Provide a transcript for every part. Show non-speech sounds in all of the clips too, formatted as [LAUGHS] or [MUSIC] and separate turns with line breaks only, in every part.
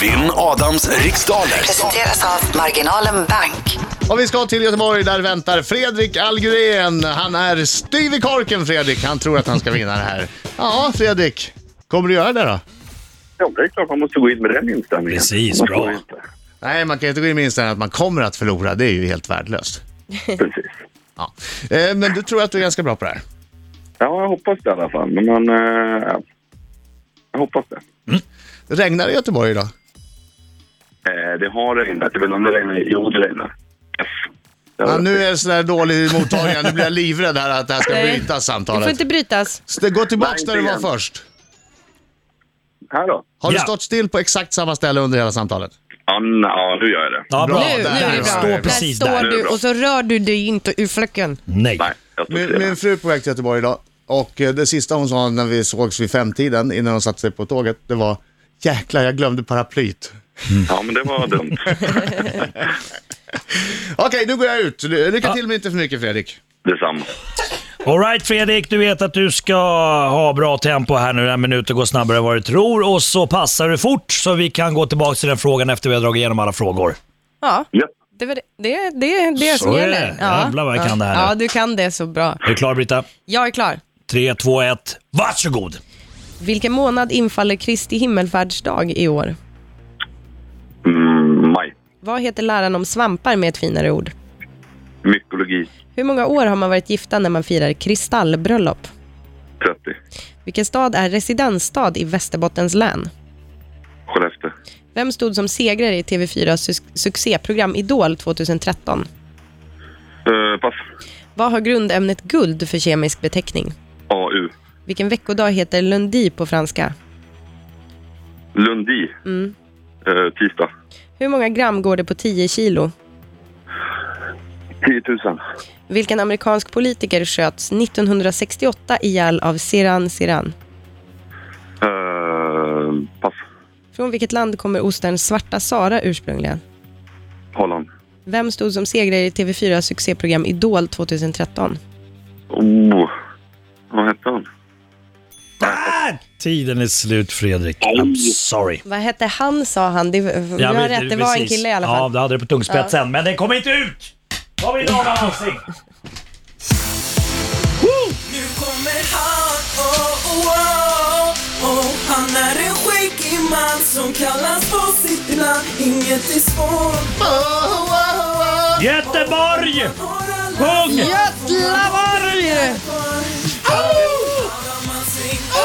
Vinn Adams riksdaler.
Presenteras av Marginalen Bank.
Och vi ska till Göteborg, där väntar Fredrik Algren. Han är styv i korken Fredrik, han tror att han ska vinna det här. Ja, Fredrik, kommer du göra det då?
Ja, det är klart man måste gå in med den inställningen.
Precis,
Man får
bra.
inte.
Nej, man kan inte gå in med inställningen att man kommer att förlora, det är ju helt värdelöst.
Precis.
Ja. Eh, Men du tror att du är ganska bra på det här?
Ja, jag hoppas det i alla fall. Men man, eh, ja. jag hoppas det.
Regnar det i Göteborg idag?
Eh, det har regnat. Jag vet inte om det regnar. Jo, det regnar. Yes.
Ja, nu är det sådär dålig mottagning, nu blir jag livrädd här att det här ska
Nej.
brytas
Det får
samtalet.
inte brytas.
Så det- Gå tillbaks
Nej,
där du
inte
var
igen.
först.
Här då?
Har du
Ja.
stått still på exakt samma ställe under hela samtalet?
Ja, nej, ja, nu gör jag det.
Ja,
Bra,
bra.
där,
nu, nu är
där,
det bra.
Stå
där.
där
precis
står
där.
du och så rör du dig inte ur fläcken.
Nej.
Nej, jag står
Min, min
still.
fru är på väg till Göteborg idag och eh, det sista hon sa när vi sågs vid femtiden innan hon satte sig på tåget, det var Jäklar, jag glömde paraplyt.
Ja, men det var dumt.
Okej, nu går jag ut. Ly- Lycka till men inte för mycket Fredrik.
Detsamma.
Alright Fredrik, du vet att du ska ha bra tempo här nu. En minut går snabbare än vad du tror och så passar du fort så vi kan gå tillbaka till den frågan efter vi har dragit igenom alla frågor.
Ja,
Japp.
det var det, det, det, det
Så
som
är det.
gäller. Ja.
Jävlar vad jag
ja.
kan det här nu.
Ja, du kan det så bra.
Är du klar Britta?
Jag är klar.
3, 2, 1. Varsågod!
Vilken månad infaller Kristi himmelfärdsdag i år?
Mm, maj.
Vad heter läran om svampar med ett finare ord?
Mykologi.
Hur många år har man varit gifta när man firar kristallbröllop?
30.
Vilken stad är residensstad i Västerbottens län?
Skellefteå.
Vem stod som segrare i TV4s su- succéprogram Idol 2013?
Eh, pass.
Vad har grundämnet guld för kemisk beteckning?
AU.
Vilken veckodag heter lundi på franska?
Lundi. Eh, tisdag.
Hur många gram går det på 10 kilo?
10 000.
Vilken amerikansk politiker sköts 1968 ihjäl av Siran Siran?
Eh, pass.
Från vilket land kommer osten Svarta Sara ursprungligen?
Holland.
Vem stod som segrare i TV4s succéprogram Idol 2013?
Oh. Vad hette han?
Där! Tiden är slut Fredrik. I'm sorry.
Vad hette han sa han? Det, du
Ja,
har
men-
rätt, det var en
precis.
kille i alla
Ja,
fall.
du hade det på tungspetsen, men den kom inte ut! Vad vill du ha med Alsing?
Nu kommer han, oh, oh, oh, oh. Han är en skäggig man som kallas på sitt namn Inget är svårt,
Göteborg!
har alla
Sjung!
Götlaborg!
svar Bara man svingar, bara man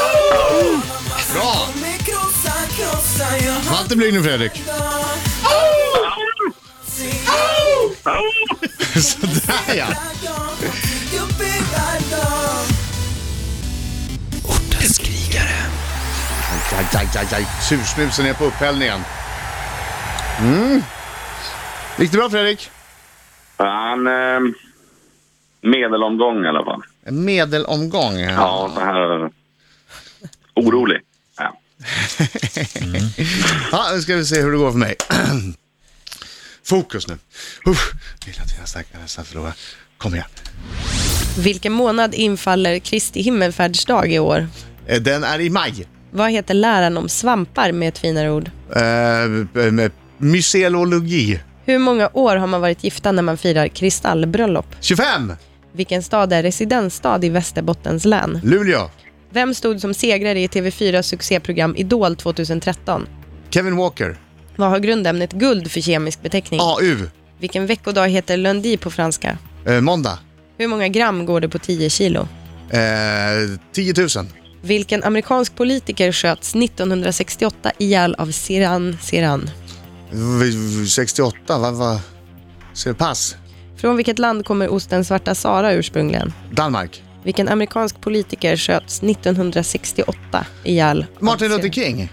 svingar.
Bra.
Kommer krossa, krossa, jag
Var inte blyg nu Fredrik.
handlar Svingar,
Sådär [LAUGHS] ja.
jag tycker bygga dag
Aj, aj, aj, aj. Sursnusen är på upphällningen. Mm. Gick det bra Fredrik?
Han... Eh, medelomgång i alla fall.
En medelomgång.
Ja, så här... Orolig. Ja.
Ja, nu ska vi se hur det går för mig. [CLEARS THROAT] Fokus nu. Uff. Vill att jag stackare nästan förlorar. Kom igen.
Vilken månad infaller Kristi himmelfärdsdag i år?
Eh, Den är i maj.
Vad heter läran om svampar med ett finare ord?
Eh, med mycelologi.
Hur många år har man varit gifta när man firar kristallbröllop?
25.
Vilken stad är residensstad i Västerbottens län?
Luleå.
Vem stod som segrare i TV4s succéprogram Idol 2013?
Kevin Walker.
Vad har grundämnet guld för kemisk beteckning?
AU.
Vilken veckodag heter lundi på franska?
Eh, måndag.
Hur många gram går det på 10 kilo?
Eh, 10 000.
Vilken amerikansk politiker sköts 1968 ihjäl av Siran Siran?
V- v- 68. Vad va? Ser det pass?
Från vilket land kommer osten Svarta Sara ursprungligen?
Danmark.
Vilken amerikansk politiker sköts 1968 ihjäl? av
Martin Luther
Siran?
King.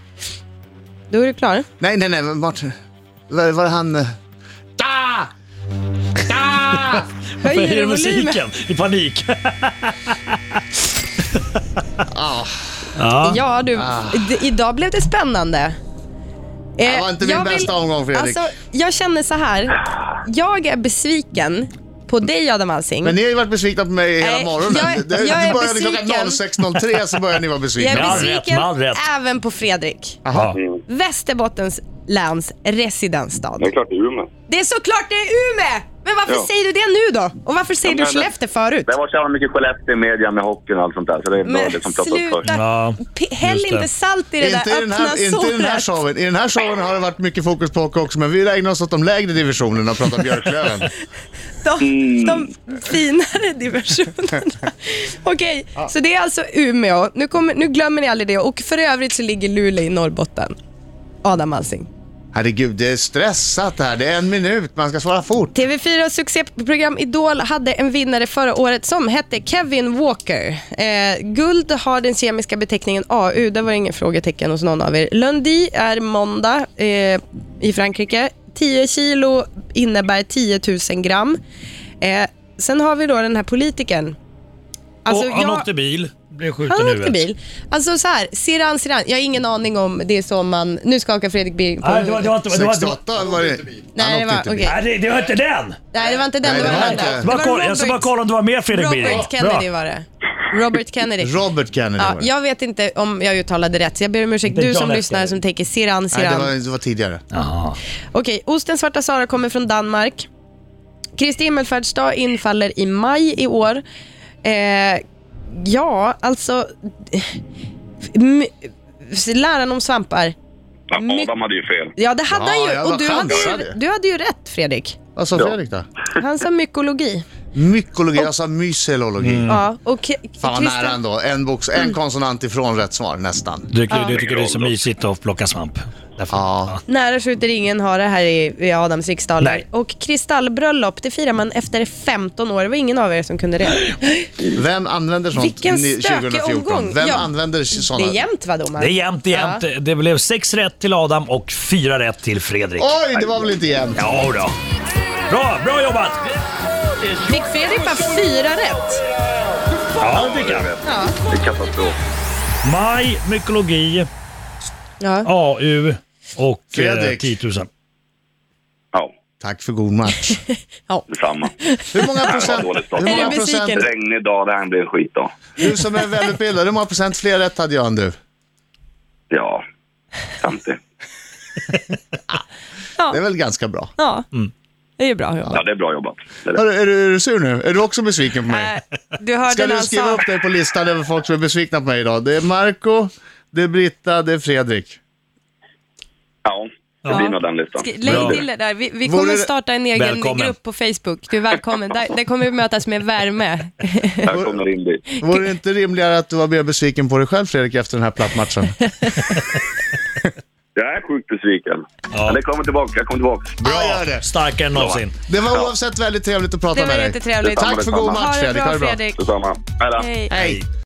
Då är du klar.
Nej, nej, nej. Martin. Var, var det han... eh, Da! Da!
Höjer du
volymen?
musiken i panik?
Ja, du. d- Idag blev det spännande. Eh,
Det var inte min
jag
bästa omgång, Fredrik.
Alltså, jag känner så här. Jag är besviken på dig Adam Alsing.
Men ni har ju varit besvikna på mig hela
Nej,
morgonen.
Eh, jag-
Det-
jag är
det började klockan
besviken.
06.03 så började ni vara
jag
Med
besvikna.
all
är
rätt,
besviken
med all rätt.
även på Fredrik.
Ja.
Västerbottens läns residensstad.
Det är klart det är Umeå.
Det är såklart det är Umeå! Men varför
Ja.
säger du det nu då? Och varför säger
Ja,
du
men-
Skellefteå förut?
Det var så jävla mycket Skellefteå i media med hockeyn och allt sånt där, så det är bra
Men
det som ploppar upp först.
sluta!
Ja,
P- Häll
just det.
inte salt i det
Inte,
där
i den
öppna
här, inte i den här
såret.
showen. I den här showen har det varit mycket fokus på hockey också, men vi ägnar oss åt de lägre divisionerna och pratar Björklöven.
De, de finare divisionerna. Okej, så det är alltså Umeå. Nu, kommer, nu glömmer ni aldrig det. Och för övrigt så ligger Luleå i Norrbotten. Adam Alsing.
Herregud, det är stressat det här. Det är en minut, man ska svara fort.
TV4 succéprogram Idol hade en vinnare förra året som hette Kevin Walker. Eh, guld har den kemiska beteckningen AU. Där var det ingen frågetecken hos någon av er. Lundi är måndag eh, i Frankrike. 10 kilo innebär 10 000 gram. Eh, sen har vi då den här politikern. Alltså,
och han
jag-
åkte bil, blev skjuten
han
i
åkte
huvudet.
bil. Alltså så här, Siran, Siran. Jag har ingen aning om det är så man... Nu skakar Fredrik Birk på
Nej, det var, det var,
huvudet.
inte- det var, det var,
68 var det.
Nej, det var-
inte bil.
okej.
Nej, det, det var inte den!
Nej, det var inte den.
Nej,
det
det
var
var
den
inte-
där.
Det
Det
Bara
var
kolla, jag ska
Robert.
bara kolla om du var med Fredrik Birk.
Robert Kennedy
Bra.
var det. Robert Kennedy.
Robert Kennedy
Ja,
var det.
jag vet inte om jag uttalade rätt, så jag ber om ursäkt.
Inte
Du
John
som
F.
lyssnar
Kennedy.
som tänker Siran,
Nej, det
Siran.
var, det var tidigare.
Jaha.
Okej, osten Svarta Sara kommer från Danmark. Kristi himmelfärdsdag infaller i maj i år. Eh, ja, alltså... M- läran om svampar.
Ja,
My-
Adam hade ju fel.
Ja, det hade
Ja,
han
jag
ju.
var
Och du hade
chansad
ju,
ju.
du hade ju rätt, Fredrik.
Vad sa
Ja.
Fredrik då?
Han sa mykologi.
Mykologi, jag sa myselologi.
Ja, och K-
Mm. Fan vad
Kristi-
nära ändå. En, box, en konsonant ifrån rätt svar, nästan.
Du, du tycker det är så mysigt att plocka svamp? Därför.
Ja.
Nära skjuter ingen hare här i, i Adams riksdaler.
Nej.
Och kristallbröllop, det firar man efter 15 år. Det var ingen av er som kunde det.
Vem använder sånt
Vilken
ni-
stökig
2014?
omgång.
Vem
Ja.
använder
Det är
sådana?
jämnt va domaren?
Det är jämnt, det är jämnt. Det blev sex rätt till Adam och fyra rätt till Fredrik.
Oj, det var väl inte jämnt?
Ja då. Bra, bra jobbat!
Fick Fredrik bara fyra rätt?
Ja, det tycker jag.
Det är katastrof.
Maj, mykologi,
Ja.
AU och eh,
Fredrik.
10 000.
Ja,
Tack för god match.
detsamma.
Hur
[LAUGHS]
många procent?
dåligt start.
Hur
Är
många
du besviken?
procent?
Regnig dag, det här blir en skitdag.
Du som är välutbildad, hur många procent fler rätt hade jag än du?
Ja, 50.
Det är väl ganska bra.
ja. Det är ju bra jobbat.
Ja, det är bra jobbat. Det är det.
Hörru, är, du, är du sur nu? Är du också besviken på mig?
Äh, Du hörde
Ska
när
du
han
skriva
sa...
upp dig på listan över folk som är besvikna på mig idag? Det är Marco, det är Britta, det är Fredrik.
Ja, det blir nog den listan.
Skri- Lägg
Bra.
till det där. Vi, vi
Vore
kommer
det-
starta en egen
Välkommen.
grupp på Facebook. Du är välkommen. Där, där kommer vi mötas med värme.
Här kommer in dit.
Vore det inte rimligare att du var mer besviken på dig själv Fredrik efter den här plattmatchen?
Jag är sjukt besviken. Men det kommer tillbaka, jag kommer tillbaka.
Bra! Gör det.
Starkare än någonsin.
det var oavsett väldigt trevligt att prata
Det var
med dig.
jättetrevligt.
Tack för god
Detsamma,
match
Ha det
Fredrik, ha
bra
det bra.
Fredrik.
Detsamma. Hej då.
Hej.
Hej!